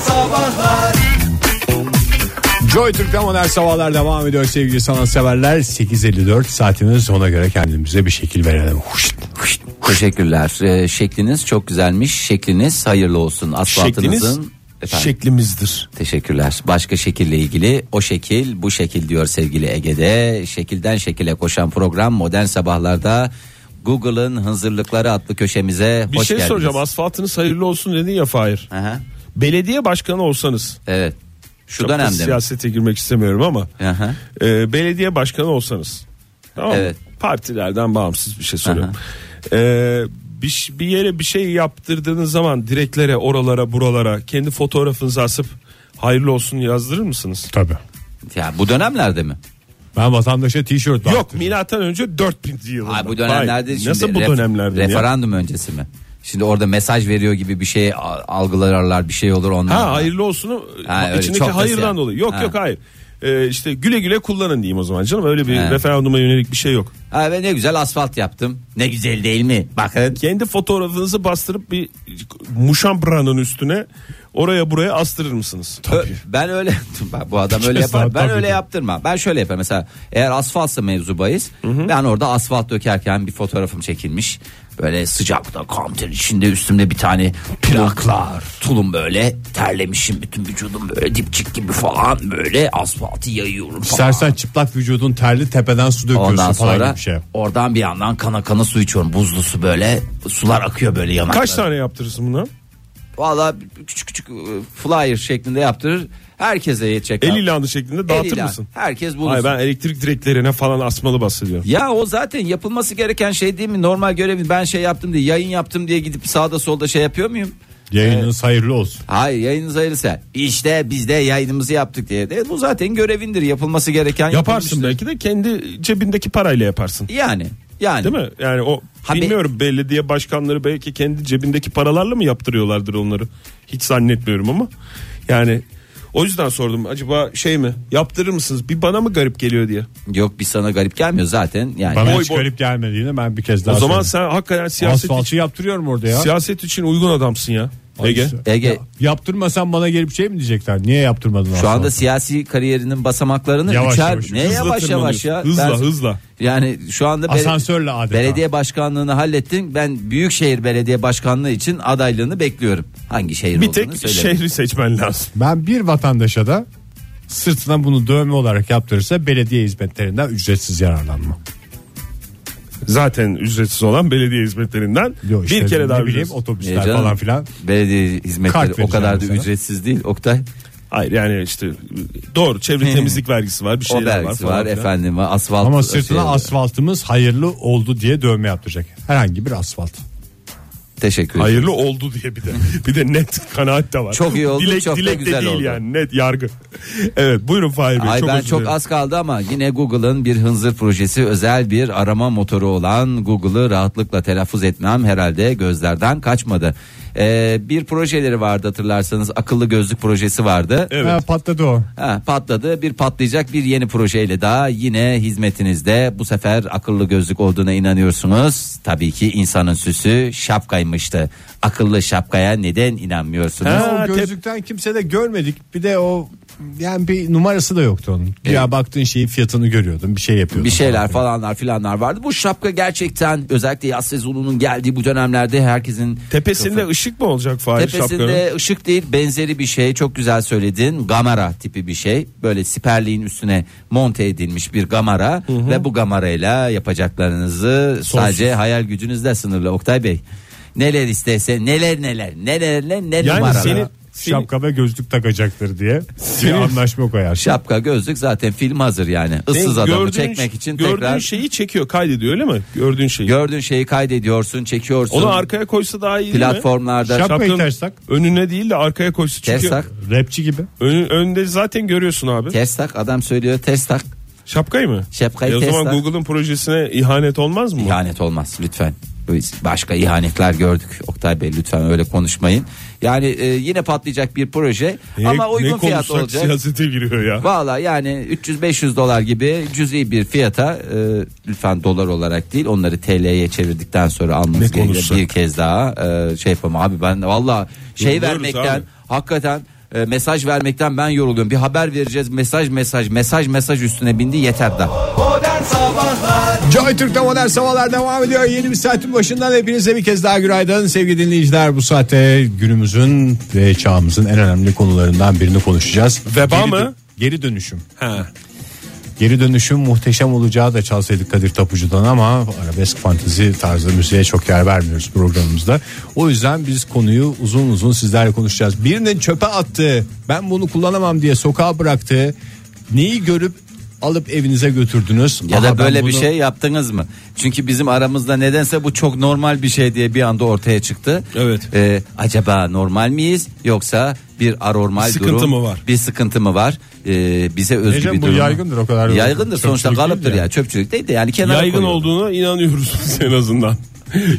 Sabahlar Joy Türk'te modern sabahlar devam ediyor sevgili sanatseverler. 8.54 saatimiz ona göre kendimize bir şekil verelim. Huşt, huşt. Teşekkürler. Ee, şekliniz çok güzelmiş. Şekliniz hayırlı olsun. Şekliniz Asfaltınızın Efendim, şeklimizdir. teşekkürler. Başka şekille ilgili o şekil bu şekil diyor sevgili Ege'de. Şekilden şekile koşan program modern sabahlarda Google'ın hazırlıkları adlı köşemize Bir hoş şey geldiniz. soracağım asfaltınız hayırlı olsun dedin ya Fahir. Aha, Belediye başkanı olsanız. evet. Şu Çok da dönemde mi? siyasete girmek istemiyorum ama. Aha. e, belediye başkanı olsanız. Tamam mı? Evet. Partilerden bağımsız bir şey soruyorum. E, bir, ş- bir yere bir şey yaptırdığınız zaman direklere oralara buralara kendi fotoğrafınızı asıp hayırlı olsun yazdırır mısınız? Tabii. Ya bu dönemlerde mi? Ben vatandaşa tişört Yok dağıttırdım. milattan önce 4000 yılında. Ay bu dönemlerde Vay, şimdi Nasıl bu ref- dönemlerde? ya? referandum öncesi mi? Şimdi orada mesaj veriyor gibi bir şey a- algılarlar bir şey olur onlar. Ha hayırlı olsunu Ha, öyle, içindeki çok da hayırdan siyah. dolayı. Yok Ha. yok hayır. Ee, işte güle güle kullanın diyeyim o zaman canım. Öyle bir He. referanduma yönelik bir şey yok. Ha, ben ne güzel asfalt yaptım. Ne güzel değil mi? Bakın. Kendi fotoğrafınızı bastırıp bir muşambranın üstüne oraya buraya astırır mısınız? Ö- Ben öyle Bak, bu adam öyle kez yapar. daha Ben tabii öyle ki. yaptırmam. Ben şöyle yaparım mesela eğer asfaltsa mevzu bahis ben orada asfalt dökerken bir fotoğrafım çekilmiş. Böyle sıcakta kanter içinde üstümde bir tane plaklar tulum böyle terlemişim bütün vücudum böyle dipçik gibi falan böyle asfaltı yayıyorum falan. İstersen çıplak vücudun terli tepeden su döküyorsun Ondan falan sonra gibi bir şey. oradan bir yandan kana kana su içiyorum. Buzlu su böyle sular akıyor böyle yanaklara. Kaç tane yaptırırsın bunu? Valla küçük küçük e, flyer şeklinde yaptırır. Herkese yetecek. El ilanı şeklinde El dağıtır ilan. mısın? Herkes bulursun. Hayır ben elektrik direklerine falan asmalı bahsediyorum. Ya o zaten yapılması gereken şey değil mi? Normal görevi ben şey yaptım diye yayın yaptım diye gidip sağda solda şey yapıyor muyum? Yayınınız hayırlı olsun. Hayır yayınınız hayırlısı. İşte biz de yayınımızı yaptık diye. Evet, bu zaten görevindir yapılması gereken. Yaparsın yapılmıştır. belki de kendi cebindeki parayla yaparsın. Yani yani. Değil mi? Yani o Ha, be- bilmiyorum belediye başkanları belki kendi cebindeki paralarla mı yaptırıyorlardır onları. Hiç zannetmiyorum ama. Yani o yüzden sordum acaba şey mi yaptırır mısınız bir bana mı garip geliyor diye. Yok bir sana garip gelmiyor zaten. Yani Bana Boy hiç boy. garip gelmediğini ben bir kez daha o zaman söyleyeyim. sen hakikaten siyaset Asfaltı için, yaptırıyorum orada ya. siyaset için uygun adamsın ya. Ege. şey Ege Yaptırmasan bana gelip şey mi diyecekler? Niye yaptırmadın Şu anda asfaltı? siyasi kariyerinin basamaklarını Yavaş üçer, yavaş. ne Hızla yavaş yavaş tırmanıyorsun. ya. Hızla, Ben- hızla. Yani şu anda bele- Asansörle adeta. belediye başkanlığını hallettin. Ben büyükşehir belediye başkanlığı için adaylığını bekliyorum. Hangi şehir Bir olduğunu tek söyle. şehri seçmen lazım. Ben bir vatandaşa da sırtına bunu dövme olarak yaptırırsa belediye hizmetlerinden ücretsiz yararlanma. Zaten ücretsiz olan belediye hizmetlerinden Yok işte bir kere ne daha bileyim ücretsiz. otobüsler E canım, falan filan. Belediye hizmetleri Kart o kadar da vereceğim sana. ücretsiz değil. Oktay Hayır yani işte doğru çevre temizlik vergisi var bir Hmm. o şeyler var. vergisi falan var filan. efendim var, asfalt. Ama şey sırtına var. asfaltımız hayırlı oldu diye dövme yaptıracak. Herhangi bir asfalt. Teşekkür ederim. Hayırlı oldu diye bir de bir de net kanaat de var. Çok iyi oldu, Dilek, çok da dilek güzel de değil oldu. yani net yargı. Evet buyurun Fahir Bey. Ay çok ben özür çok dilerim. az kaldı ama yine Google'ın bir hınzır projesi özel bir arama motoru olan Google'ı rahatlıkla telaffuz etmem herhalde gözlerden kaçmadı. Ee, bir projeleri vardı hatırlarsanız akıllı gözlük projesi vardı. Evet. Ha, patladı o. Ha, patladı bir patlayacak bir yeni projeyle daha yine hizmetinizde bu sefer akıllı gözlük olduğuna inanıyorsunuz. Tabii ki insanın süsü şapkaymıştı. Akıllı şapkaya neden inanmıyorsunuz? Ha, o tep- gözlükten kimse de görmedik. Bir de o yani bir numarası da yoktu onun. Ya baktığın şeyin fiyatını görüyordun. Bir şey yapıyordun. bir şeyler falan. falanlar filanlar vardı. Bu şapka gerçekten özellikle yaz sezonunun geldiği bu dönemlerde herkesin Tepesinde Çok- ışık mı olacak Fahir şapkanın? tepesinde ışık değil benzeri bir şey çok güzel söyledin gamara tipi bir şey böyle siperliğin üstüne monte edilmiş bir gamara ve bu gamarayla yapacaklarınızı sadece hayal gücünüzde sınırlı Oktay Bey neler istese neler neler neler neler ne Yani numara senin- Şapka ve gözlük takacaktır diye bir Senin- anlaşma koyar. şapka gözlük zaten film hazır yani ıssız Senin adamı gördüğün- şey- çekmek için gördüğün tekrar şeyi çekiyor kaydediyor öyle mi? Gördüğün şeyi. gördüğün şeyi kaydediyorsun çekiyorsun Onu arkaya koysa daha iyi değil mi? platformlarda Şap- Şapkanın Şapkayı tersak. önüne değil de arkaya koysa çünkü ters tak Rapçi gibi. önü- önde zaten görüyorsun abi. ters tak adam söylüyor ters tak Şapkayı mı? Şapkayı E o ters zaman tak. Google'ın projesine ihanet olmaz mı? bu? İhanet olmaz lütfen. Biz başka ihanetler gördük Oktay Bey lütfen öyle konuşmayın. Yani e, yine patlayacak bir proje Ne- ama uygun ne fiyat konuşsak olacak. siyasete giriyor ya. Valla yani 300-500 dolar gibi cüzi bir fiyata e, lütfen dolar olarak değil onları TL'ye çevirdikten sonra almanız Ne gerekiyor. konuşsak? Bir kez daha e, şey yapalım abi ben valla şey Yoruluyoruz vermekten abi. hakikaten e, mesaj vermekten ben yoruluyorum. Bir haber vereceğiz mesaj mesaj mesaj mesaj üstüne bindi yeter da. Joy Türk'te modern sabahlar devam ediyor. Yeni bir saatin başından hepinize bir kez daha günaydın. Sevgili dinleyiciler bu saatte günümüzün ve çağımızın en önemli konularından birini konuşacağız. Veba Geri dö- mı? Geri dönüşüm. Ha. Geri dönüşüm muhteşem olacağı da çalsaydık Kadir Tapucu'dan ama arabesk fantezi tarzı müziğe çok yer vermiyoruz programımızda. O yüzden biz konuyu uzun uzun sizlerle konuşacağız. Birinin çöpe attığı, ben bunu kullanamam diye sokağa bıraktığı, neyi görüp alıp evinize götürdünüz? Ya Aha, ben da böyle bir bunu- şey yaptınız mı? Çünkü bizim aramızda nedense bu çok normal bir şey diye bir anda ortaya çıktı. Evet. Ee, acaba normal miyiz yoksa bir anormal Bir sıkıntı durum? mı var? Bir sıkıntı mı var? Ee, bize özgü Ecem, bir bu durum. mu? yaygındır o kadar. Yaygındır Çöpçülük sonuçta değil kalıptır yani. ya. Çöpçülük değil de yani kenara Yaygın koyuyorlar. olduğuna inanıyoruz biz en azından.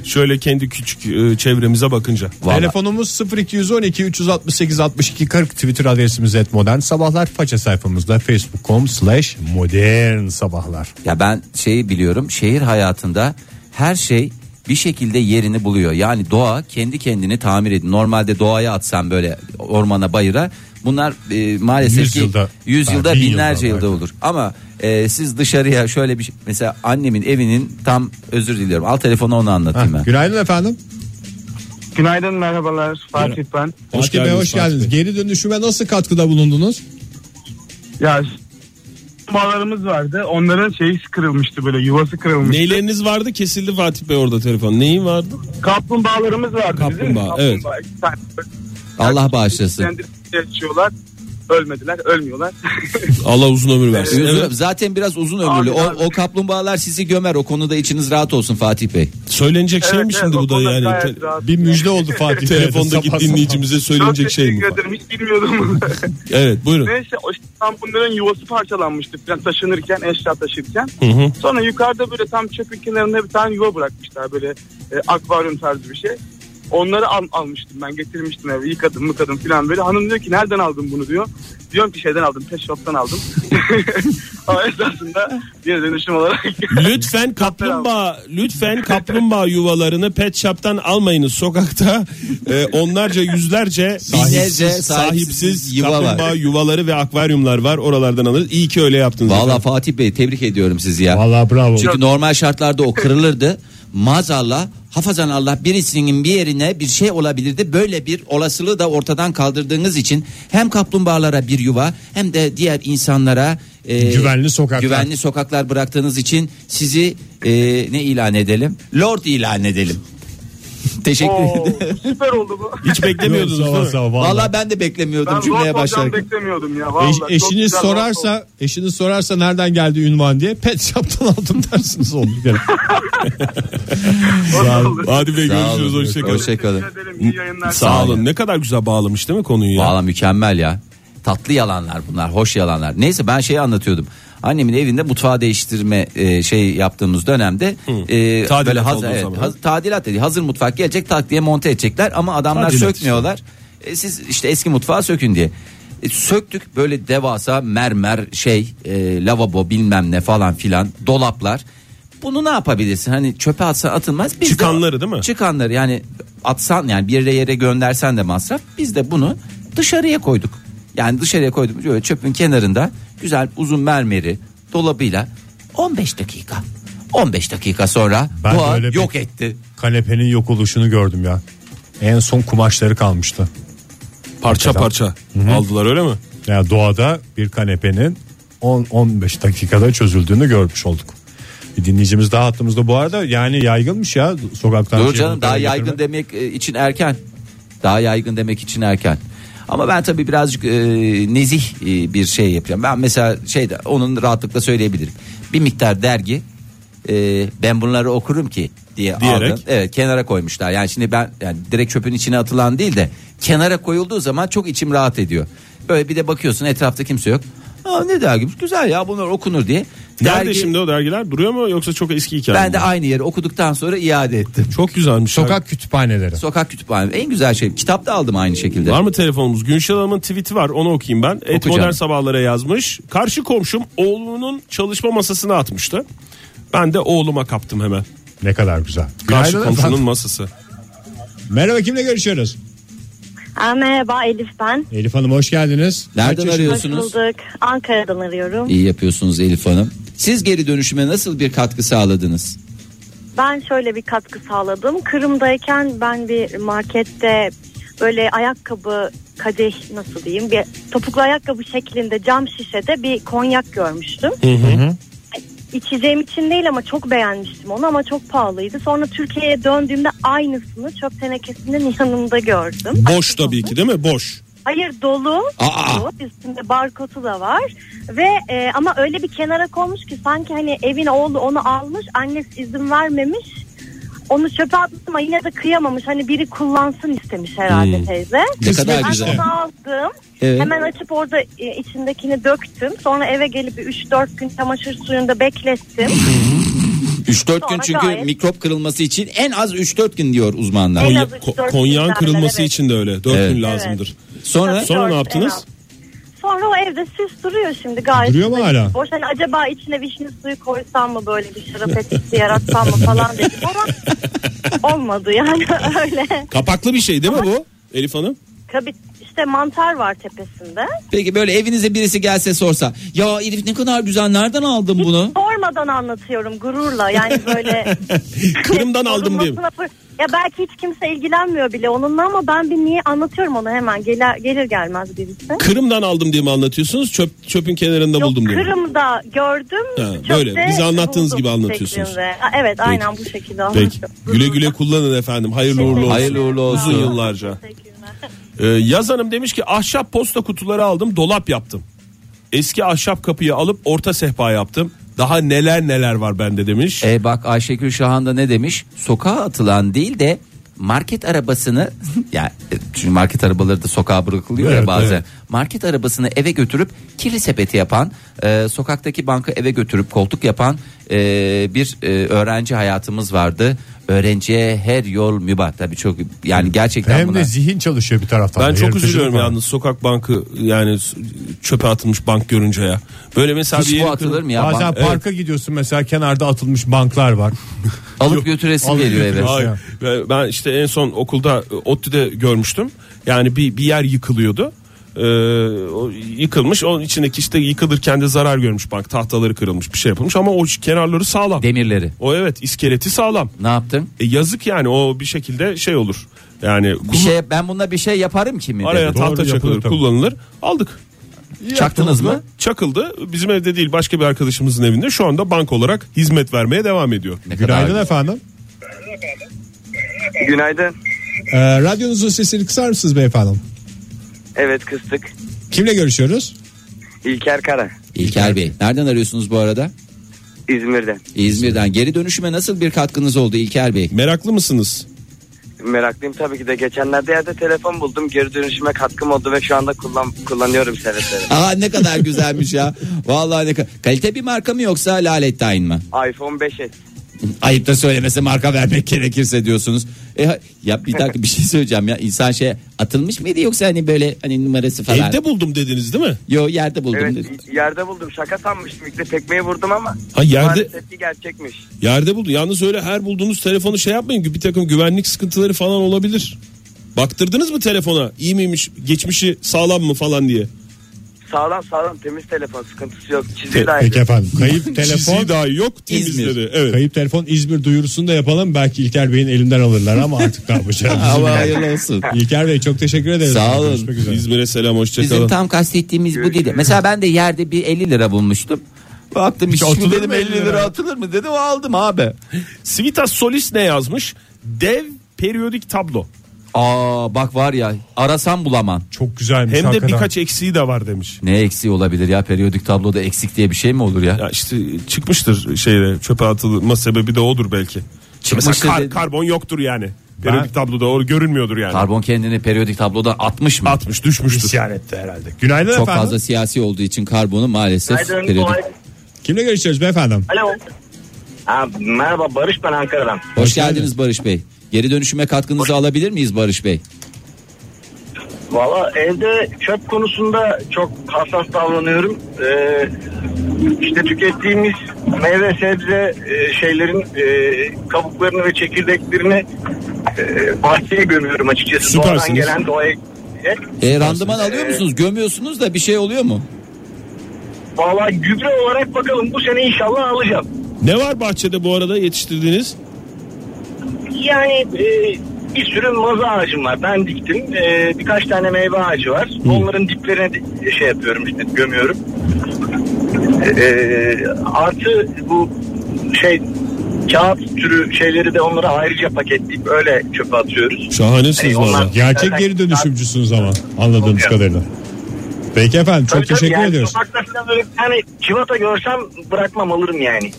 Şöyle kendi küçük e, çevremize bakınca. Vallahi. Telefonumuz 0212 368 62 40 Twitter adresimiz et modern sabahlar faça sayfamızda facebook.com slash modern sabahlar. Ya ben şeyi biliyorum. Şehir hayatında her şey bir şekilde yerini buluyor. Yani doğa kendi kendini tamir ediyor. Normalde doğaya atsan böyle ormana bayıra bunlar e, maalesef Yüz ki yılda, yüzyılda ha, bin binlerce yılda yılda olur. Ama e, siz dışarıya şöyle bir şey- mesela annemin evinin tam özür diliyorum. Al telefonu onu anlatayım ben. Günaydın efendim. Günaydın merhabalar Fatih ben. Hoş, Fatih Bey, geldiniz. hoş geldiniz. Geri dönüşüme nasıl katkıda bulundunuz? Ya bağlarımız vardı. Onların şeyi kırılmıştı böyle yuvası kırılmıştı. Neyleriniz vardı kesildi Fatih Bey orada telefon. Neyin vardı? Kaplumbağalarımız vardı bizim. Kaplumbağa, evet. iki tane böyle Allah bağışlasın. kendi yaşıyorlar. Ölmediler, ölmüyorlar. Allah uzun ömür versin. Üzülüyorum. Evet. Zaten biraz uzun ömürlü. Abi, abi. O, o kaplumbağalar sizi gömer. O konuda içiniz rahat olsun Fatih Bey. Söylenecek şey mi Evet, şimdi evet, bu da o konuda yani? gayet Te- rahat. Bir müjde oldu Fatih. telefondaki Sabah sabah. dinleyicimize Çok söylenecek şey mi? teşekkür ederim. Hiç bilmiyordum. Evet buyurun. Neyse o işte tam bunların yuvası parçalanmıştı falan taşınırken, eşya taşırken. Hı hı. Sonra yukarıda böyle tam çöpün kenarında bir tane yuva bırakmışlar böyle e, akvaryum tarzı bir şey. Onları al- almıştım ben getirmiştim eve yıkadım mıkadım falan böyle. Hanım diyor ki nereden aldın bunu diyor. Diyorum ki şeyden aldım pet shop'tan aldım. Ama esasında geri dönüşüm olarak. Lütfen kaplumbağa lütfen kaplumbağa yuvalarını pet shop'tan almayınız. Sokakta e, onlarca yüzlerce Binlerce sahipsiz sahipsiz, sahipsiz yuva var. kaplumbağa yuvaları ve akvaryumlar var. Oralardan alırız. İyi ki öyle yaptınız. Vallahi efendim. Fatih Bey tebrik ediyorum sizi ya. Vallahi bravo. Çünkü normal şartlarda o kırılırdı. Maazallah hafazan Allah birisinin bir yerine bir şey olabilirdi. Böyle bir olasılığı da ortadan kaldırdığınız için hem kaplumbağalara bir yuva hem de diğer insanlara e, Güvenli sokaklar. güvenli sokaklar bıraktığınız için sizi e, ne ilan edelim? Lord ilan edelim. Teşekkür Oo, ederim. süper oldu bu. hiç beklemiyordunuz. Sabah değil mi? sabah, vallahi. Vallahi ben de beklemiyordum Ben cümleye Rolf hocam başlarken. beklemiyordum ya. Eş- Vallahi. Çok eşiniz güzel Rolf oldu. sorarsa eşiniz sorarsa nereden geldi ünvan diye pet shop'tan aldım dersiniz oldu bir kere. Hadi be Sağ olun. görüşürüz. Hoşçakalın. Hoşça kalın. Teşekkür ederim, iyi yayınlar. Sağ olun. Ne kadar güzel bağlamış değil mi konuyu ya? Valla mükemmel ya. Tatlı yalanlar bunlar, hoş yalanlar. Neyse ben şeyi anlatıyordum. Annemin evinde mutfağı değiştirme e, şey yaptığımız dönemde e, Tadilat böyle hazır olduğu evet, zaman. haz- tadilat dedi. Hazır mutfak gelecek tak diye monte edecekler ama adamlar Tadilat işte. sökmüyorlar. E, siz işte eski mutfağı sökün diye. E, söktük böyle devasa mermer şey, e, lavabo bilmem ne falan filan dolaplar. Bunu ne yapabilirsin? Hani çöpe atsa atılmaz. Biz de- Çıkanları değil mi? Çıkanları yani atsan yani bir yere yere göndersen de masraf. Biz de bunu dışarıya koyduk. Yani dışarıya koyduk. Böyle çöpün kenarında güzel uzun mermeri dolabıyla 15 dakika. 15 dakika sonra Ben doğa böyle bir- yok etti. Kanepenin yok oluşunu gördüm ya. En son kumaşları kalmıştı. Parça parça aldılar öyle mi? Yani doğada bir kanepenin 10-15 dakikada çözüldüğünü görmüş olduk. Bir dinleyicimiz daha hattımızda bu arada yani yaygınmış ya sokaktan. Dur şey canım daha götürme. yaygın demek e, için erken. Daha yaygın demek için erken. Ama ben tabii birazcık e, nezih e, bir şey yapacağım. Ben mesela şeyde onun rahatlıkla söyleyebilirim. Bir miktar dergi e, ben bunları okurum ki diye Diyerek. aldım. Evet kenara koymuşlar. Yani şimdi ben yani direkt çöpün içine atılan değil de kenara koyulduğu zaman çok içim rahat ediyor. Böyle bir de bakıyorsun etrafta kimse yok. Aa, ne dergimiz güzel ya bunlar okunur diye. Nerede Dergi- şimdi o dergiler? Duruyor mu yoksa çok eski hikaye Ben mi? de aynı yeri okuduktan sonra iade ettim. Çok güzelmiş. ya. Sokak kütüphaneleri. Sokak kütüphane en güzel şey. Kitap da aldım aynı şekilde. Var mı telefonumuz? Günşil Hanım'ın tweet'i var onu okuyayım ben. Et Okuyacağım. Modern Sabahlara yazmış. Karşı komşum oğlunun çalışma masasına atmıştı. Ben de oğluma kaptım hemen. Ne kadar güzel. Karşı Günaydın komşunun efendim. masası. Merhaba kimle görüşüyoruz? Aa, merhaba Elif ben. Elif Hanım hoş geldiniz. Nereden Kaç Hoş arıyorsunuz? bulduk. Ankara'dan arıyorum. İyi yapıyorsunuz Elif Hanım. Siz geri dönüşüme nasıl bir katkı sağladınız? Ben şöyle bir katkı sağladım. Kırım'dayken ben bir markette böyle ayakkabı kadeh nasıl diyeyim bir topuklu ayakkabı şeklinde cam şişede bir konyak görmüştüm. İçeceğim için değil ama çok beğenmiştim onu ama çok pahalıydı. Sonra Türkiye'ye döndüğümde aynısını çöp tenekesinin yanında gördüm. Boş tabii ki değil mi? Boş. Hayır dolu. Aa! Dolu. Üstünde barkodu da var. Ve e, ama öyle bir kenara konmuş ki sanki hani evin oğlu onu almış, annesi izin vermemiş. Onu çöpe atmış ama yine de kıyamamış. Hani biri kullansın istemiş herhalde Hmm. teyze. Ne kadar Ben güzel. onu aldım. Evet. Hemen açıp orada e, içindekini döktüm. Sonra eve gelip 3-4 gün çamaşır suyunda beklettim. 3-4 gün Sonra çünkü gayet- mikrop kırılması için en az 3-4 gün diyor uzmanlar. En Konya, az üç, Ko- dört Konyağın gün kırılması evet. için de öyle. 4 Evet. gün lazımdır. Sonra Sonra ne Dört, yaptınız? en az. Sonra o evde süs duruyor şimdi gayet. Duruyor mu Hani hala? Boş hani acaba içine vişne suyu koysam mı böyle bir şarap etkisi yaratsam mı falan dedim ama olmadı yani öyle. Kapaklı bir şey değil mi bu? Elif Hanım. Tabii işte mantar var tepesinde. peki böyle evinize birisi gelse sorsa ya Elif ne kadar güzel nereden aldın bunu? Sormadan anlatıyorum gururla yani böyle. Kırım'dan aldım diyeyim. Sorulmasına- Ya belki hiç kimse ilgilenmiyor bile onunla ama ben bir niye anlatıyorum onu hemen gelir, gelir gelmez birisi. Kırım'dan aldım diye mi anlatıyorsunuz? Çöp çöpün kenarında Yok, buldum diye. mi? Kırım'da gördüm. Ha, çöpte böyle. Bize anlattığınız buldum gibi anlatıyorsunuz. şeklinde. Ha, Evet aynen bu şekilde Peki. anlatıyorum. Güle güle kullanın efendim. Hayırlı Şey uğurlu olsun. Hayırlı uğurlu olsun. Uzun yıllarca. Teşekkürler. Ee, Yaz Hanım demiş ki ahşap posta kutuları aldım dolap yaptım. Eski ahşap kapıyı alıp orta sehpa yaptım. Daha neler neler var bende demiş. E bak Ayşegül Şahan da ne demiş? Sokağa atılan değil de market arabasını ya e, çünkü market arabaları da sokağa bırakılıyor ya Evet, bazen. evet. Market arabasını eve götürüp kirli sepeti yapan, e, sokaktaki banka eve götürüp koltuk yapan e, bir e, öğrenci hayatımız vardı. Öğrenciye her yol mübah tabii çok yani gerçekten Hem buna de zihin çalışıyor bir taraftan. ben da, çok yaratıcılık üzülüyorum var. yalnız sokak bankı yani s- çöpe atılmış bank görünce ya. Böyle mesela hiç bir bu yeri atılır kırıp- mı ya? Bazen Bank- parka gidiyorsun mesela kenarda atılmış banklar var. alıp götüresim alıp geliyor eve. götürüyorsun. Hayır. Ya. Ve Ben işte en son okulda e, ODTÜ'de görmüştüm. Yani bir bir yer yıkılıyordu. Ee, o yıkılmış. Onun içindeki işte yıkılırken de zarar görmüş bank. Tahtaları kırılmış, bir şey yapılmış ama o kenarları sağlam. Demirleri. O evet, iskeleti sağlam. Ne yaptın? E yazık yani o bir şekilde şey olur. Yani Bir şey ben bununla bir şey yaparım ki mi? dedi. araya Doğru, tahta yapılır çakılır, tabii. kullanılır. Aldık. Çaktınız mı? Çakıldı. Bizim evde değil, başka bir arkadaşımızın evinde şu anda bank olarak hizmet vermeye devam ediyor. Ne kadar Günaydın güzel. efendim. Günaydın. Ee, radyonuzun sesini kısar mısınız beyefendi? Evet kıstık. Kimle görüşüyoruz? İlker Kara. İlker Bey nereden arıyorsunuz bu arada? İzmir'den. İzmir'den geri dönüşüme nasıl bir katkınız oldu İlker Bey? Meraklı mısınız? Meraklıyım tabii ki de. Geçenlerde yerde telefon buldum. Geri dönüşüme katkım oldu ve şu anda kullan kullanıyorum seve seve. Aa ne kadar güzelmiş ya. Vallahi ne kadar. Kalite bir marka mı yoksa Lalettayn mı? iPhone 5S. Ayıp da söylemesi marka vermek gerekirse diyorsunuz. E, ha- ya bir dakika bir şey söyleyeceğim ya. İnsan şey atılmış mıydı yoksa hani böyle hani numarası falan? Evde buldum dediniz değil mi? Yo yerde buldum. Evet dedi. yerde buldum. Şaka sanmıştım. İlk de tekmeyi vurdum ama. Ha, yerde- Maalesef ki gerçekmiş. Yerde buldu. Yalnız öyle her bulduğunuz telefonu şey yapmayın. Bir takım güvenlik sıkıntıları falan olabilir. Baktırdınız mı telefona? İyi miymiş? Geçmişi sağlam mı falan diye. Sağlam sağlam temiz telefon. Sıkıntısı yok. Te- Çizgi dahil. Peki efendim. Kayıp telefon. Çizgi dahi yok. İzmir. Temizleri. Evet. Kayıp telefon İzmir duyurusunu da yapalım. Belki İlker Bey'in elinden alırlar ama artık ne yapacağız? Ama hayırlı olsun. İlker Bey çok teşekkür ederiz. Sağ olun. Görüşmek üzere. İzmir'e selam Bizim hoşçakalın. tam kastettiğimiz bu değil. Görüşürüz. Mesela ben de yerde bir 50 lira bulmuştum. Baktım hiç, atılır mi mı dedim 50 50 lira lira? atılır mı dedim aldım abi. Svitas Solis ne yazmış? Dev periyodik tablo. Aa bak var ya arasam bulamam. Çok güzelmiş Hem de hakikaten. birkaç eksiği de var demiş. Ne eksiği olabilir ya periyodik tabloda eksik diye bir şey mi olur ya? Ya işte çıkmıştır şeyde çöpe atılma sebebi de odur belki. Çıkmıştır Mesela kar- dedi. karbon yoktur yani. Periyodik tabloda o görünmüyordur yani. Karbon kendini periyodik tabloda atmış mı? Atmış düşmüştür. İsyan etti herhalde. Günaydın Çok efendim. fazla siyasi olduğu için karbonu maalesef periyodik. Hoş, Kimle görüşüyoruz beyefendim? Alo. merhaba Barış ben Ankara'dan. geldiniz Barış Bey. Geri dönüşüme katkınızı alabilir miyiz Barış Bey? E, Valla evde çöp konusunda çok hassas davranıyorum. Ee, işte tükettiğimiz meyve sebze e, şeylerin e, kabuklarını ve çekirdeklerini e, bahçeye gömüyorum açıkçası. Doğadan Süpersiniz. gelen de o ek- şekilde. E, randıman alıyor musunuz? Gömüyorsunuz da bir şey oluyor mu? Vallahi gübre olarak bakalım bu sene inşallah alacağım. Ne var bahçede bu arada yetiştirdiğiniz? Yani e, bir sürü maza ağacım var. Ben diktim. E, birkaç tane meyve ağacı var. Onların diplerine di- şey yapıyorum işte gömüyorum. E, artı bu şey kağıt türü şeyleri de onlara ayrıca paketleyip öyle çöpe atıyoruz. Şahanesiniz Ey, onlar- valla. Gerçek geri dönüşümcüsünüz ama anladığımız Tabii. kadarıyla. Peki efendim çok Tabii tabii, teşekkür yani ediyoruz. Sokakta falan böyle bir tane çivata görsem bırakmam alırım yani.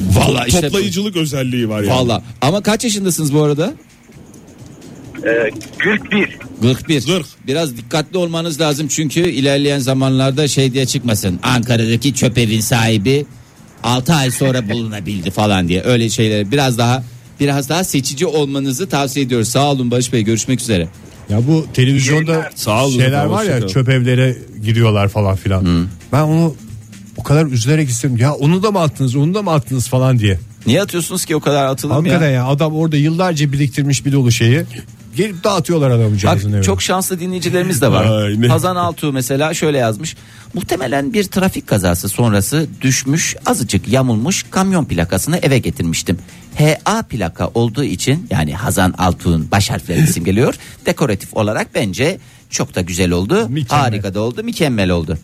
Valla işte. Toplayıcılık özelliği var yani. Valla. Ama kaç yaşındasınız bu arada? E, Gülk bir. 41. Gırk. Biraz dikkatli olmanız lazım çünkü ilerleyen zamanlarda şey diye çıkmasın. Ankara'daki çöp evin sahibi 6 ay sonra bulunabildi falan diye. Öyle şeyler biraz daha biraz daha seçici olmanızı tavsiye ediyoruz. Sağ olun Barış Bey görüşmek üzere. Ya bu televizyonda Sağ olun. şeyler var Hoşça ya kalın. çöp evlere giriyorlar falan filan. Hmm. Ben onu o kadar üzülerek istedim. Ya onu da mı attınız onu da mı attınız falan diye. Niye atıyorsunuz ki o kadar atılım Hakikaten ya? ya adam orada yıllarca biriktirmiş bir dolu şeyi. Gelip dağıtıyorlar Bak adamcağızın evine. çok şanslı dinleyicilerimiz de var. Ay, ne- Hazan Altuğ mesela şöyle yazmış. Muhtemelen bir trafik kazası sonrası düşmüş azıcık yamulmuş kamyon plakasını eve getirmiştim. HA plaka olduğu için yani Hazan Altuğ'un baş harflerini simgeliyor. Dekoratif olarak bence çok da güzel oldu. Mükemmel. Harika da oldu mükemmel oldu.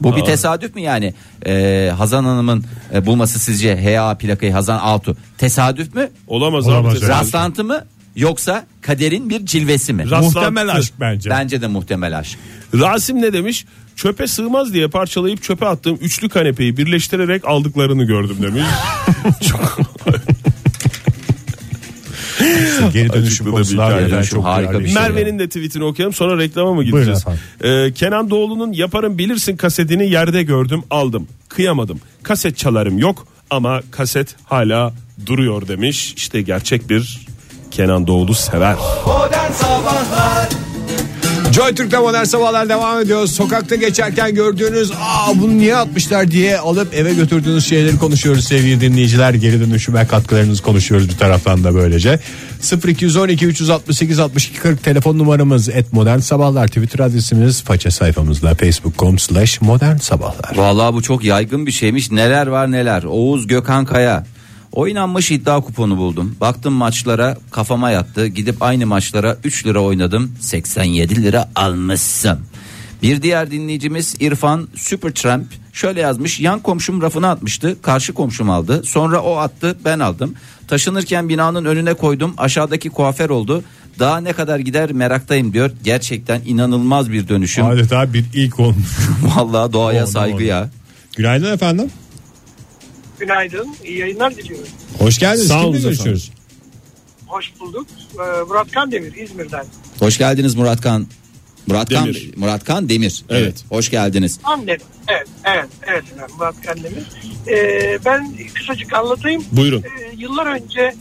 Bu bir tesadüf mü yani? Ee, Hazan Hanım'ın e, bulması sizce HA plakayı Hazan Altuğ tesadüf mü? Olamaz, Olamaz abi. ya. Rastlantı mı? Yoksa kaderin bir cilvesi mi? Rastlantı. Muhtemel aşk bence. Bence de muhtemel aşk. Rasim ne demiş? Çöpe sığmaz diye parçalayıp çöpe attığım üçlü kanepeyi birleştirerek aldıklarını gördüm demiş. Çok geri Acıklı da dönüşüm bir konusunda hikaye. harbiden Dönüşüm çok harika duyarlı bir şey. Merve'nin de tweetini okuyalım sonra reklama mı Buyurun gideceğiz? efendim. Ee, Kenan Doğulu'nun yaparım bilirsin kasetini yerde gördüm aldım kıyamadım. Kaset çalarım yok ama kaset hala duruyor demiş. İşte gerçek bir Kenan Doğulu sever. Joy Türk'te modern sabahlar devam ediyor. Sokakta geçerken gördüğünüz aa bunu niye atmışlar diye alıp eve götürdüğünüz şeyleri konuşuyoruz sevgili dinleyiciler. Geri dönüşüme katkılarınızı konuşuyoruz bir taraftan da böylece. 0212 368 62 40 telefon numaramız et modern sabahlar Twitter adresimiz faça sayfamızda facebook.com slash modern sabahlar. Vallahi bu çok yaygın bir şeymiş. Neler var neler. Oğuz Gökhan Kaya. Oynanmış iddia kuponu buldum. Baktım maçlara kafama yattı. Gidip aynı maçlara 3 lira oynadım. 87 lira almışsın. Bir diğer dinleyicimiz İrfan Supertramp şöyle yazmış. Yan komşum rafına atmıştı. Karşı komşum aldı. Sonra o attı ben aldım. Taşınırken binanın önüne koydum. Aşağıdaki kuaför oldu. Daha ne kadar gider meraktayım diyor. Gerçekten inanılmaz bir dönüşüm. Adeta bir ilk olmuş. Vallahi doğaya Oldu, saygı oldu. ya. Günaydın efendim. Günaydın, iyi yayınlar diliyorum. Hoş geldiniz. Sağ Kimle olun efendim. görüşüyoruz? Hoş bulduk. Ee, Murat Kandemir, İzmir'den. Hoş geldiniz Muratkan. Muratkan Demir. Muratkan Demir. Evet. Hoş geldiniz. Annem. Evet, evet, evet efendim, Murat Kandemir. Ee, ben kısacık anlatayım. Buyurun. Ee, yıllar önce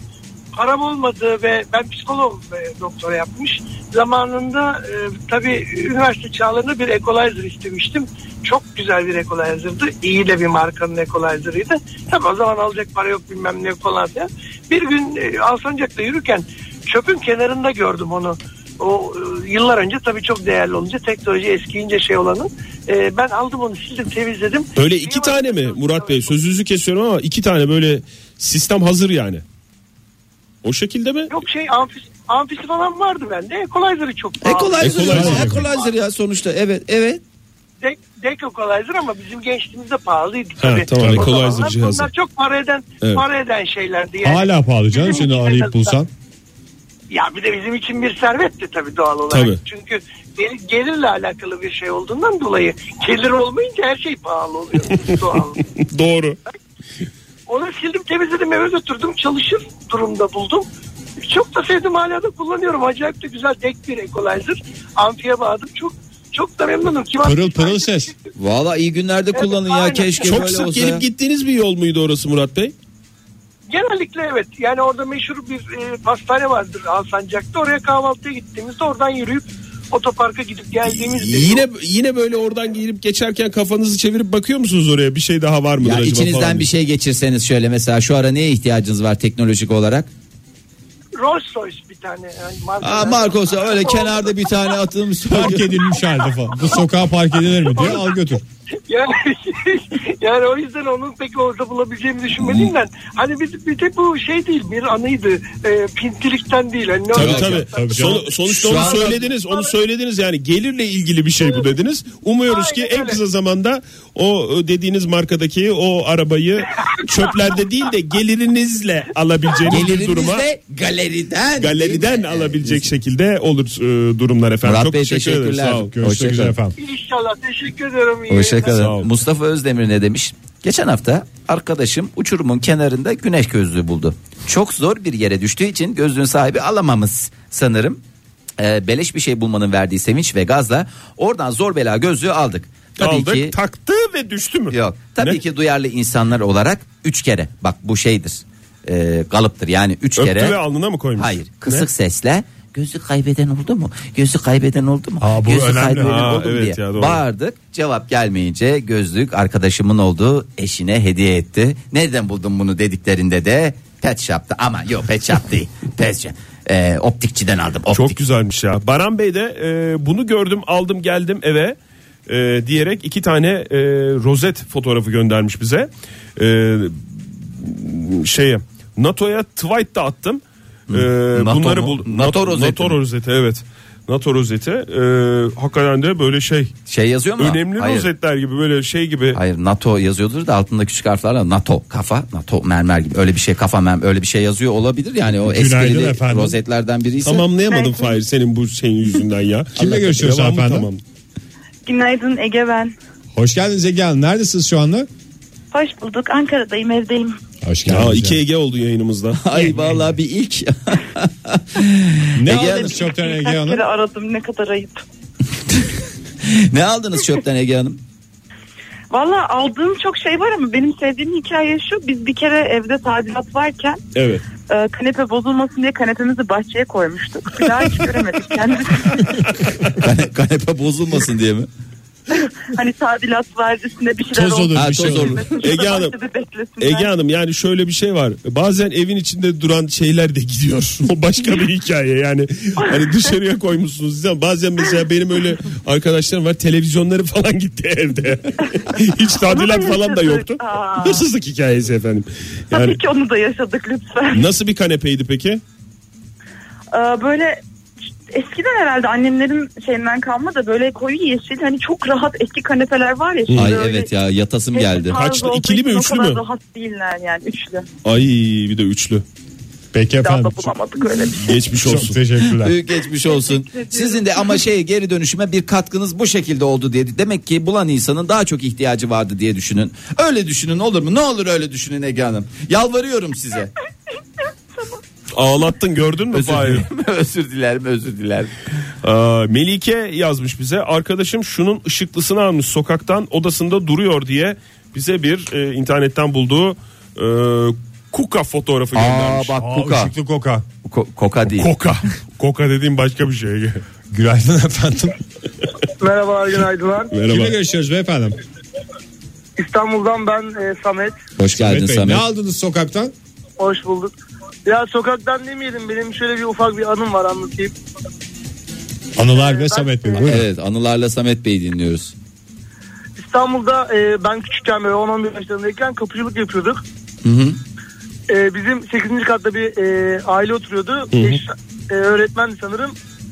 param olmadığı ve ben psikolog e, doktora yapmış. Zamanında e, tabii üniversite çağlarında bir equalizer istemiştim. Çok güzel bir equalizer'dı. İyi de bir markanın equalizer'ıydı. Tabii o zaman alacak para yok bilmem ne falan filan. Bir gün e, Alsancak'ta yürürken çöpün kenarında gördüm onu. O e, yıllar önce tabii çok değerli olunca teknoloji eskiyince şey olanı. E, ben aldım onu sildim temizledim. Öyle iki tane mi Murat Bey? Sözünüzü kesiyorum ama iki tane böyle sistem hazır yani. O şekilde mi? Yok şey amfisi, amfisi falan vardı bende. Equalizer'ı çok pahalı. Equalizer. Equalizer ya sonuçta. Evet, evet. Dek, dek equalizer ama bizim gençliğimizde pahalıydı Ha, tabii. tamam, O equalizer zamanlar cihazı. Bunlar çok para eden, Evet. para eden şeylerdi. Yani. Hala pahalı canım şimdi arayıp bulsan. Ya bir de bizim için bir servetti tabii doğal olarak. Tabii. Çünkü gel- gelirle alakalı bir şey olduğundan dolayı gelir olmayınca her şey pahalı oluyor doğal. Doğru. Onu sildim temizledim eve götürdüm çalışır durumda buldum. Çok da sevdim hala da kullanıyorum. Acayip de güzel dek bir equalizer. Amfiye bağladım çok çok da memnunum. Kim Pırıl atmış? pırıl ses. Valla iyi günlerde Evet, kullanın ya aynen. keşke Çok böyle sık olsa. gelip gittiğiniz bir yol muydu orası Murat Bey? Genellikle evet. Yani orada meşhur bir e, pastane vardır Alsancak'ta. Oraya kahvaltıya gittiğimizde oradan yürüyüp otoparka gidip geldiğimiz bir- Yine yine böyle oradan gelip geçerken kafanızı çevirip bakıyor musunuz oraya bir şey daha var mıdır ya acaba içinizden falan bir diye. şey geçirseniz şöyle mesela şu ara neye ihtiyacınız var teknolojik olarak? Rolls Royce bir tane. Yani marka. Aa, Marcos'a öyle kenarda bir tane atılmış Park edilmiş halde falan. Bu sokağa park edilir mi diyor al götür. Yani, yani o yüzden onu pek orada bulabileceğimi düşünmedim ben. Hani bir, bir de bu şey değil bir anıydı. E, pintilikten değil. Hani ne Tabii olacak? tabii. Tabii Son- canım. sonuçta Şu onu an- söylediniz. Onu söylediniz yani gelirle ilgili bir şey bu dediniz. Umuyoruz ki Aynen en öyle. kısa zamanda o e, dediğiniz markadaki o arabayı çöplerde değil de gelirinizle alabileceğiniz bir duruma Gelirinizle galeriden. galeriden alabilecek şekilde olur e, durumlar efendim. Murat Çok Bey, teşekkür ederim. teşekkürler. Sağ olun. Görüşmek Hoşça üzere kalın. efendim. İnşallah. Teşekkür ediyorum. İyi Hoşçakalın. Sağ olun. Mustafa Özdemir ne demiş? Geçen hafta arkadaşım uçurumun kenarında güneş gözlüğü buldu. Çok zor bir yere düştüğü için gözlüğün sahibi alamamız sanırım. Ee, beleş bir şey bulmanın verdiği sevinç ve gazla oradan zor bela gözlüğü aldık. Tabii Aldık, ki taktı ve düştü mü? Yok. Tabii Ne? ki duyarlı insanlar olarak üç kere bak bu şeydir. E, galıptır yani üç Öptü kere. ve alnına mı koymuş? Hayır. Kısık sesle gözü kaybeden oldu mu? Gözü kaybeden oldu mu? Aa, bu gözü önemli. kaybeden Aa, oldu mu evet diye. ya, doğru. Bağırdık. Cevap gelmeyince gözlük arkadaşımın olduğu eşine hediye etti. Nereden buldun bunu dediklerinde de pet shop'ta ama yok pet shop değil. Pet shop. Ee, optikçiden aldım. Optik. Çok güzelmiş ya. Baran Bey de e, bunu gördüm aldım geldim eve e, diyerek iki tane e, rozet fotoğrafı göndermiş bize. E, şeye NATO'ya tweet de attım. Hmm. E, NATO bunları mu? bul. NATO rozeti NATO mi? rozeti evet. NATO rozeti e, hakikaten de böyle şey Şey yazıyor mu? önemli Hayır. rozetler gibi böyle şey gibi Hayır NATO yazıyordur da altında küçük harflerle NATO kafa NATO mermer gibi öyle bir şey kafa mermer öyle bir şey yazıyor olabilir yani o Günaydın eskili efendim. rozetlerden biriyse. Tamamlayamadım Fahir senin bu şeyin yüzünden ya. Kimle görüşüyoruz Devam mı? efendim? Tamam. Günaydın Ege ben. Hoş geldiniz Ege Hanım. Neredesiniz şu anda? Hoş bulduk. Ankara'dayım evdeyim. Hoş geldiniz. Ya iki ya. Ege oldu yayınımızda. Ay vallahi bir ilk. Ne Ege Hanım. aldınız çöpten Ege Kaç Hanım? kere aradım ne kadar ayıp. ne aldınız çöpten Ege Hanım? Valla aldığım çok şey var ama benim sevdiğim hikaye şu. Biz bir kere evde tadilat varken evet. e, kanepe bozulmasın diye kanepemizi bahçeye koymuştuk. Bir daha hiç göremedik kendisi. Kane- kanepe bozulmasın diye mi? Hani tadilat var üstünde bir şeyler Toz olur Ha, bir şey toz olur. olur. Ege Hanım, Ege Hanım yani şöyle bir şey var. Bazen evin içinde duran şeyler de gidiyor. O başka bir hikaye yani. Hani dışarıya koymuşsunuz siz ama bazen mesela benim öyle arkadaşlarım var televizyonları falan gitti evde. Hiç tadilat falan da yoktu. Aa. Hırsızlık hikayesi efendim. Yani Tabii ki onu da yaşadık lütfen. nasıl bir kanepeydi peki? Ee, böyle eskiden herhalde annemlerin şeyinden kalma da böyle koyu yeşil hani çok rahat eski kanepeler var ya. şimdi Ay öyle evet ya yatasım geldi. tarzı Kaçlı, olduğu ikili mi, için o üçlü kadar mü? Rahat değiller yani üçlü. Ay bir de üçlü. Peki Bir daha efendim. da bulamadık öyle bir şey. Geçmiş Çok olsun. teşekkürler. Büyük geçmiş olsun. Sizin de ama şey geri dönüşüme bir katkınız bu şekilde oldu diye. Demek ki bulan insanın daha çok ihtiyacı vardı diye düşünün. Öyle düşünün olur mu? Ne olur öyle düşünün Ege Hanım. Yalvarıyorum size. Ağlattın gördün mü? Özür Fahir? dilerim. özür dilerim. Özür dilerim. Ee, Melike yazmış bize arkadaşım şunun ışıklısını almış sokaktan odasında duruyor diye bize bir e, internetten bulduğu e, kuka fotoğrafı göndermiş. bak Aa, kuka. ışıklı koka. Ko- koka değil. Koka. Koka dediğim başka bir şey. Günaydın efendim. Merhabalar günaydınlar. Kimle Merhaba. görüşüyoruz beyefendim? İstanbul'dan ben e, Samet. Hoş geldin Mehmet Bey, Samet. ne aldınız sokaktan? Hoş bulduk. Ya sokaktan demeyelim benim şöyle bir ufak bir anım var anlatayım. Anılar ve Ben- Samet Bey. Buyurun. Evet anılarla Samet Bey dinliyoruz. İstanbul'da e, ben küçükken böyle 10-11 yaşlarındayken kapıcılık yapıyorduk. Hı hı. E, bizim 8. katta bir e, aile oturuyordu. Eş, e, öğretmendi sanırım.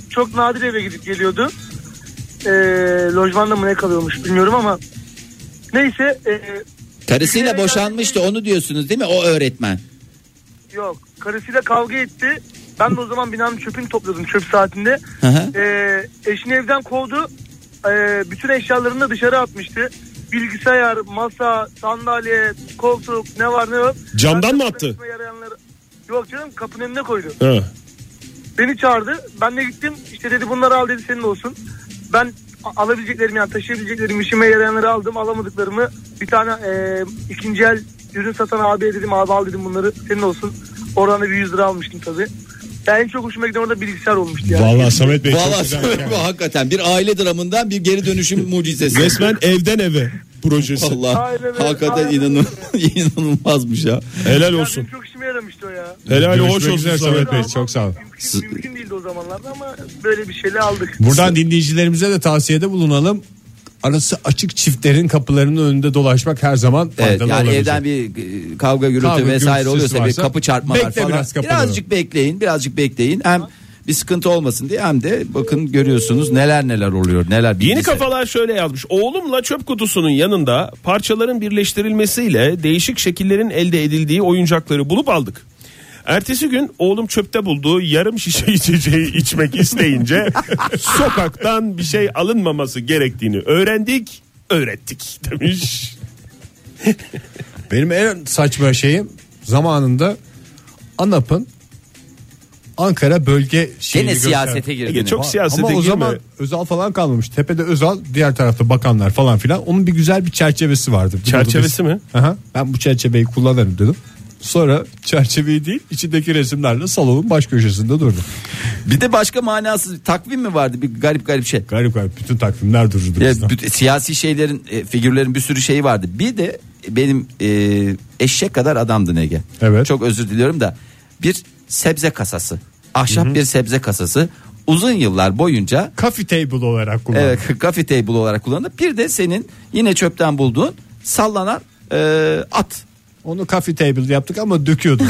Çok nadir eve gidip geliyordu. E, lojmanda mı ne kalıyormuş bilmiyorum ama. Neyse e, Karısıyla boşanmıştı onu diyorsunuz değil mi? O öğretmen. yok karısıyla kavga etti. Ben de o zaman binanın çöpünü topluyordum çöp saatinde. Hı hı. Ee, eşini evden kovdu. Ee, bütün eşyalarını da dışarı atmıştı. Bilgisayar, masa, sandalye, koltuk ne var ne yok. Camdan Ben de mı attı? işime yarayanları- Yok canım kapının önüne koydu. Ha. Beni çağırdı. Ben de gittim. İşte dedi bunları al dedi senin olsun. Ben a- alabileceklerimi yani taşıyabileceklerimi işime yarayanları aldım. Alamadıklarımı bir tane e, ikinci el ürün satan abiye dedim abi al dedim bunları senin olsun. Oradan da bir 100 lira almıştım tabii. Yani en çok hoşuma giden orada bilgisayar olmuştu yani. Ee, Vallahi Samet Bey çok Vallahi güzel. Samet bu hakikaten bir aile dramından bir geri dönüşüm mucizesi. Resmen evden eve projesi. Vallahi Aynen öyle, hakikaten aynen inanıl- inanılmazmış ya. Helal Ya olsun. benim çok işime yaramıştı o ya. ya. Helal Görüşmek hoş olsun üzere Samet Samet Bey. Bey. Çok sağ olun. S- Mümkün, mümkün değildi o zamanlarda ama böyle bir şeyle aldık. Buradan dinleyicilerimize de tavsiyede bulunalım. Arası açık çiftlerin kapılarının önünde dolaşmak her zaman faydalı Evet, yani olabilecek. evden bir e, kavga gürültü Kavga vesaire gürültüsü oluyorsa bir varsa kapı çarpmalar bekle falan. biraz kapıda. birazcık bekleyin, birazcık bekleyin. Hem bir sıkıntı olmasın diye hem de bakın görüyorsunuz neler neler oluyor. Neler Yeni bilgisayar- kafalar şöyle yazmış. Oğlumla çöp kutusunun yanında parçaların birleştirilmesiyle değişik şekillerin elde edildiği oyuncakları bulup aldık. Ertesi gün oğlum çöpte bulduğu yarım şişe içeceği içmek isteyince sokaktan bir şey alınmaması gerektiğini öğrendik, öğrettik demiş. Benim en saçma şeyim zamanında ANAP'ın Ankara bölge şeyini Gene gösteren- siyasete Ege girdi. çok siyasete Ama o girme. zaman Özal falan kalmamış. Tepede Özal, diğer tarafta bakanlar falan filan. Onun bir güzel bir çerçevesi vardı. Bir Çerçevesi odada- mi? Aha, ben bu çerçeveyi kullanırım dedim. Sonra çerçeveyi değil içindeki resimlerle salonun baş köşesinde durdu. Bir de başka manasız bir takvim mi vardı? Bir garip garip şey. Garip garip bütün takvimler dururdu. Ya, bizden. büt- siyasi şeylerin, e, figürlerin bir sürü şeyi vardı. Bir de benim e, eşek kadar adamdı Ege. Evet. Çok özür diliyorum da bir sebze kasası. Ahşap bir sebze kasası. Uzun yıllar boyunca Coffee table olarak kullandı. Evet coffee table olarak kullanılır. Bir de senin yine çöpten bulduğun sallanan e, at. Onu coffee table yaptık ama döküyordum.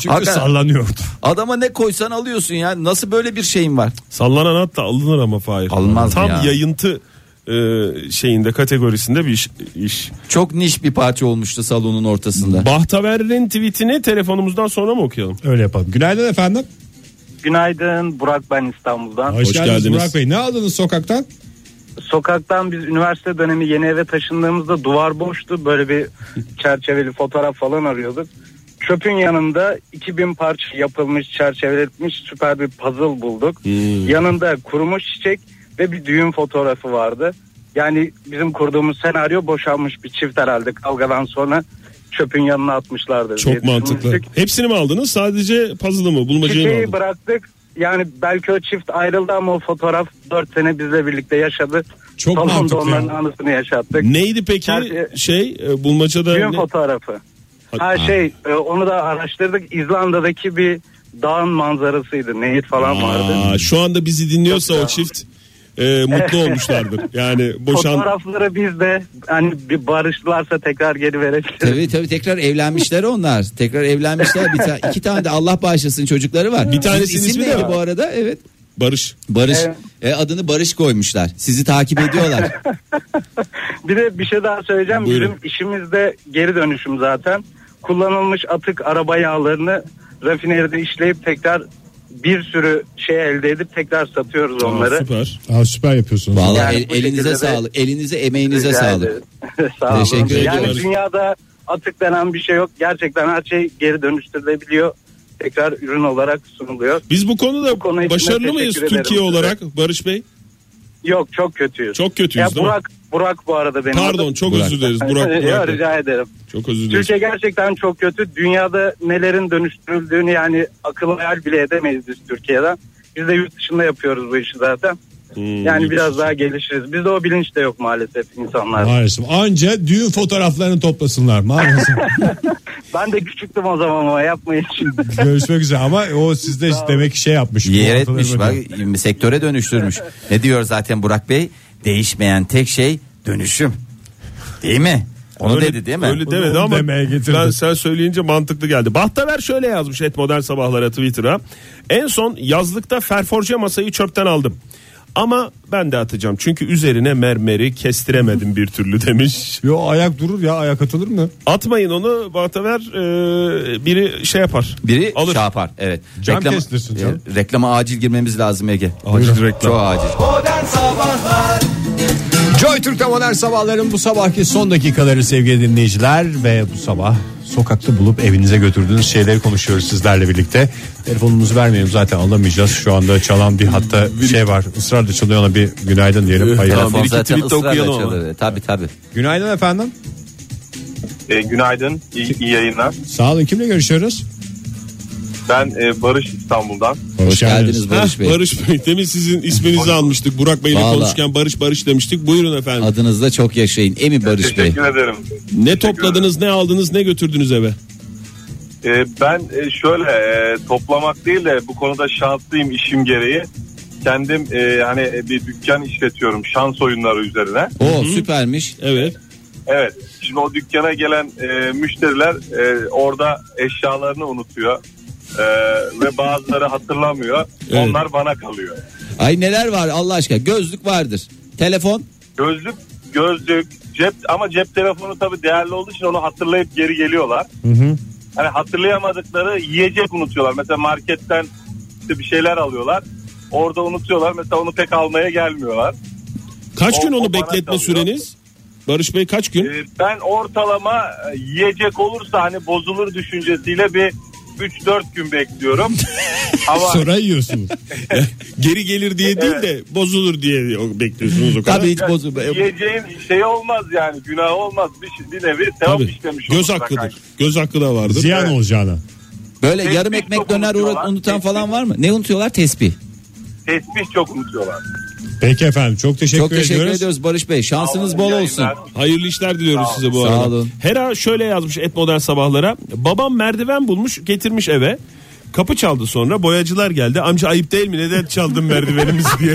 Çünkü Hakikaten. sallanıyordu. Adama ne koysan alıyorsun ya. Nasıl böyle bir şeyin var? Sallanan at da alınır ama Fahir. Alınmaz mı Tam ya? yayıntı e, şeyinde kategorisinde bir iş. iş. Çok niş bir parça olmuştu salonun ortasında. Bahtaver'in tweetini telefonumuzdan sonra mı okuyalım? Öyle yapalım. Günaydın efendim. Günaydın Burak ben İstanbul'dan. Hoş, Hoş geldiniz, geldiniz. Burak Bey. Ne aldınız sokaktan? Sokaktan biz üniversite dönemi yeni eve taşındığımızda duvar boştu. Böyle bir çerçeveli fotoğraf falan arıyorduk. Çöpün yanında 2000 parça yapılmış, çerçeveletmiş süper bir puzzle bulduk. Hmm. Yanında kurumuş çiçek ve bir düğün fotoğrafı vardı. Yani bizim kurduğumuz senaryo boşanmış bir çift herhalde kavgadan sonra çöpün yanına atmışlardı. Çok mantıklı. Hepsini mi aldınız? Sadece puzzle'ı mı? Bulmacayı mı Çiçeği aldınız? bıraktık. Yani belki o çift ayrıldı ama o fotoğraf 4 sene bizle birlikte yaşadı. Çok Salonda mantıklı ya. onların anısını yaşattık. Neydi peki Her- şey e, bulmacada Düğün ne- fotoğrafı. Ha şey e, onu da araştırdık. İzlanda'daki bir dağın manzarasıydı. Nehir falan vardı. Aa, şu anda bizi dinliyorsa o çift e, mutlu olmuşlardır. Yani boşan Fotoğrafları biz de hani bir barıştılarsa tekrar geri verebiliriz. Tabii tabii tekrar evlenmişler onlar. Tekrar evlenmişler. Bir ta- iki tane de Allah bağışlasın çocukları var. Bir tanesinin ismi de var. bu arada? Evet. Barış. Barış. E, adını Barış koymuşlar. Sizi takip ediyorlar. Bir de bir şey daha söyleyeceğim. Buyurun. Bizim işimiz de geri dönüşüm zaten. Kullanılmış atık araba yağlarını rafineride işleyip tekrar bir sürü şey elde edip tekrar satıyoruz Aa, onları. süper. Aa, süper yapıyorsunuz. Vallahi Yani el- bu elinize şekilde de- sağlık. Elinize emeğinize Rica sağlık. ederim. Sağ olun. Teşekkür yani ediyoruz. dünyada atık denen bir şey yok. Gerçekten her şey geri dönüştürülebiliyor. Tekrar ürün olarak sunuluyor. Biz bu konuda Bu konu için başarılı teşekkür mıyız ederim Türkiye size. olarak Barış Bey? Yok çok kötüyüz. Çok kötüyüz ya değil mi? Burak, Burak bu arada benim. Pardon çok Burak. özür dileriz Burak. Yok, Burak Bey. rica ederim. Çok özür dileriz. Türkiye gerçekten çok kötü. Dünyada nelerin dönüştürüldüğünü yani akıl hayal bile edemeyiz biz Türkiye'den. Biz de yurt dışında yapıyoruz bu işi zaten. Hmm, Yani biraz daha gelişiriz. Bizde o bilinç de yok maalesef insanlarda. Maalesef. Anca düğün fotoğraflarını toplasınlar. Maalesef. Ben de küçüktüm o zaman ama yapmayın şimdi. Görüşmek üzere ama o sizde demek ki şey yapmış. Yer Bu etmiş bak ortalarına- sektöre dönüştürmüş. Ne diyor zaten Burak Bey? Değişmeyen tek şey dönüşüm. Değil mi? Onu Öyle- dedi değil mi? Öyle demedi onu ama demeye getirdi. ben sen söyleyince mantıklı geldi. Bahtaver şöyle yazmış et modern sabahlara Twitter'a. En son yazlıkta ferforje masayı çöpten aldım. Ama ben de atacağım çünkü üzerine mermeri kestiremedim bir türlü demiş. Yo ayak durur ya ayak atılır mı? Atmayın onu Bahtaver e, biri şey yapar. Biri alır. şey yapar. Evet. Cam kestirsin canım. e, reklama acil girmemiz lazım Ege. Acil reklam. Çok acil. Joy Türk'te modern sabahların bu sabahki son dakikaları sevgili dinleyiciler ve bu sabah sokakta bulup evinize götürdüğünüz şeyleri konumuş sizlerle birlikte. Telefonumuzu vermeyelim zaten alamayacağız. Şu anda çalan bir hatta şey var. Israrla çalıyor ona bir günaydın diyelim. Hayır. Tamam, bir Telefon iki zaten tweet de ısrarla okuyalım ama. çalıyor. Tabii tabii. Günaydın efendim. E, günaydın, iyi, iyi yayınlar. Sağ olun kimle görüşüyoruz? Ben e, Barış İstanbul'dan. Hoş geldiniz Barış Barış Bey. Bey. Barış Bey demin sizin isminizi almıştık. Burak Bey ile Vallahi. konuşurken Barış Barış demiştik. Buyurun efendim. Adınızda çok yaşayın. Emi Barış Bey. Teşekkür ederim. ne topladınız, ne aldınız, ne götürdünüz eve? Ee, ben e, şöyle e, toplamak değil de bu konuda şanslıyım işim gereği. Kendim e, hani bir dükkan işletiyorum şans oyunları üzerine. O süpermiş. Evet. Evet. Şimdi o dükkana gelen e, müşteriler e, orada eşyalarını unutuyor. E, ve bazıları hatırlamıyor. Evet. Onlar bana kalıyor. Ay neler var Allah aşkına gözlük vardır. Telefon. Gözlük, gözlük, cep ama cep telefonu tabii değerli olduğu için onu hatırlayıp geri geliyorlar. Hani hatırlayamadıkları yiyecek unutuyorlar. Mesela marketten işte bir şeyler alıyorlar. Orada unutuyorlar. Mesela onu pek almaya gelmiyorlar. Kaç O- gün o onu bana bekletme kalıyor. süreniz? Barış Bey kaç gün? Ee, Ben ortalama e, yiyecek olursa hani bozulur düşüncesiyle bir 3-4 gün bekliyorum. ama Sonra yiyorsunuz. Geri gelir diye değil de bozulur diye bekliyorsunuz o kadar. Tabii hiç bozul. yiyeceğin şey olmaz yani günah olmaz bir, şey- bir nevi sevap Tabii. işlemiş Göz olursak hakkıdır. hani. Göz hakkı da vardır. Ziyan olacağına. Böyle Tesbih yarım çok ekmek döner unutuyorlar. uğra- unutan Tesbih. falan var mı? Ne unutuyorlar? Tesbih. Tesbih çok unutuyorlar. Peki efendim çok teşekkür, Çok teşekkür ediyoruz. ediyoruz Barış Bey. Şansınız Sağ bol olun, iyi olsun. yayınlar. Hayırlı işler diliyoruz Sağ size bu olun. arada. Sağ olun. Hera şöyle yazmış et modern sabahlara. Babam merdiven bulmuş getirmiş eve. Kapı çaldı sonra boyacılar geldi. Amca ayıp değil mi neden çaldın merdivenimizi diye.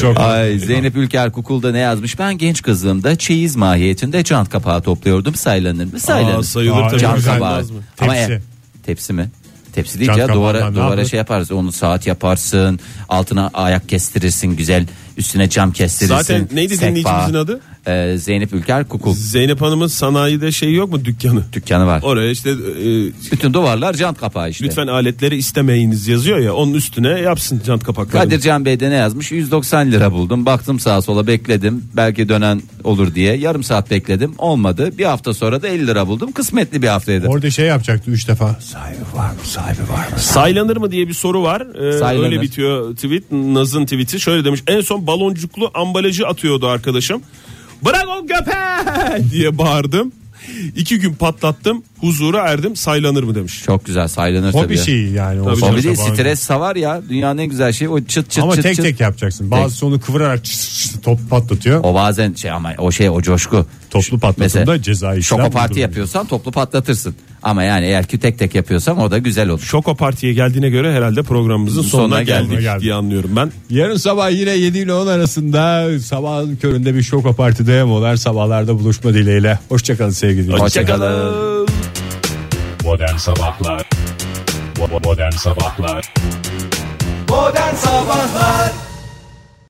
Çok Ay Zeynep Ülker Kukul'da ne yazmış? Ben genç kızlığımda çeyiz mahiyetinde cant kapağı topluyordum. Saylanır mı? Saylanır. Aa, sayılır Aa, tabii. Cant Güzel. kabağı. Olmaz mı? Ama Tepsi. e- tepsi mi? Tepsi değil Cant ya duvara kabağından ne duvara yapılır? şey yaparsın. Onu saat yaparsın. Altına ayak kestirirsin güzel. Üstüne cam kestirirsin. Zaten neydi Sekba. dinleyicimizin adı? Ee, Zeynep Ülker Kukul Zeynep Hanım'ın sanayide şey yok mu dükkanı? dükkanı var. Oraya işte e, Bütün duvarlar cant kapağı işte. lütfen aletleri istemeyiniz yazıyor ya onun üstüne yapsın cant kapakları. Kadir Can Bey de ne yazmış? 190 lira buldum. Baktım sağa sola bekledim. Belki dönen olur diye. Yarım saat bekledim. Olmadı. Bir hafta sonra da 50 lira buldum. Kısmetli bir haftaydı. Orada şey yapacaktı 3 defa. Saylanır mı diye bir soru var. Ee, Saylanır. öyle bitiyor tweet. Naz'ın tweeti şöyle demiş. En son baloncuklu ambalajı atıyordu arkadaşım. Bırak o göpe diye bağırdım. İki gün patlattım. Huzura erdim. Saylanır mı demiş. Çok güzel saylanır Hobi şey. tabii. şeyi yani. o Tabii sabah canım. Hobi değil sabah. stres savar ya. Dünyanın en güzel şeyi o çıt çıt Ama çıt tek çıt. tek yapacaksın. Bazısı onu kıvırarak çıs çıs top patlatıyor. O bazen şey ama o şey o coşku. Toplu patlatımda cezai işlem Şoko parti bulunur. yapıyorsan toplu patlatırsın. Ama yani eğer ki tek tek yapıyorsan o da güzel olur. Şoko Parti'ye geldiğine göre herhalde programımızın sonuna, Sonuna geldik, geldik. diye anlıyorum ben. Yarın sabah yine 7 ile 10 arasında sabahın köründe bir şoka partide molar sabahlarda buluşma dileğiyle. Hoşçakalın sevgili dinleyiciler. Hoşçakalın. Modern Sabahlar Modern Sabahlar Modern Sabahlar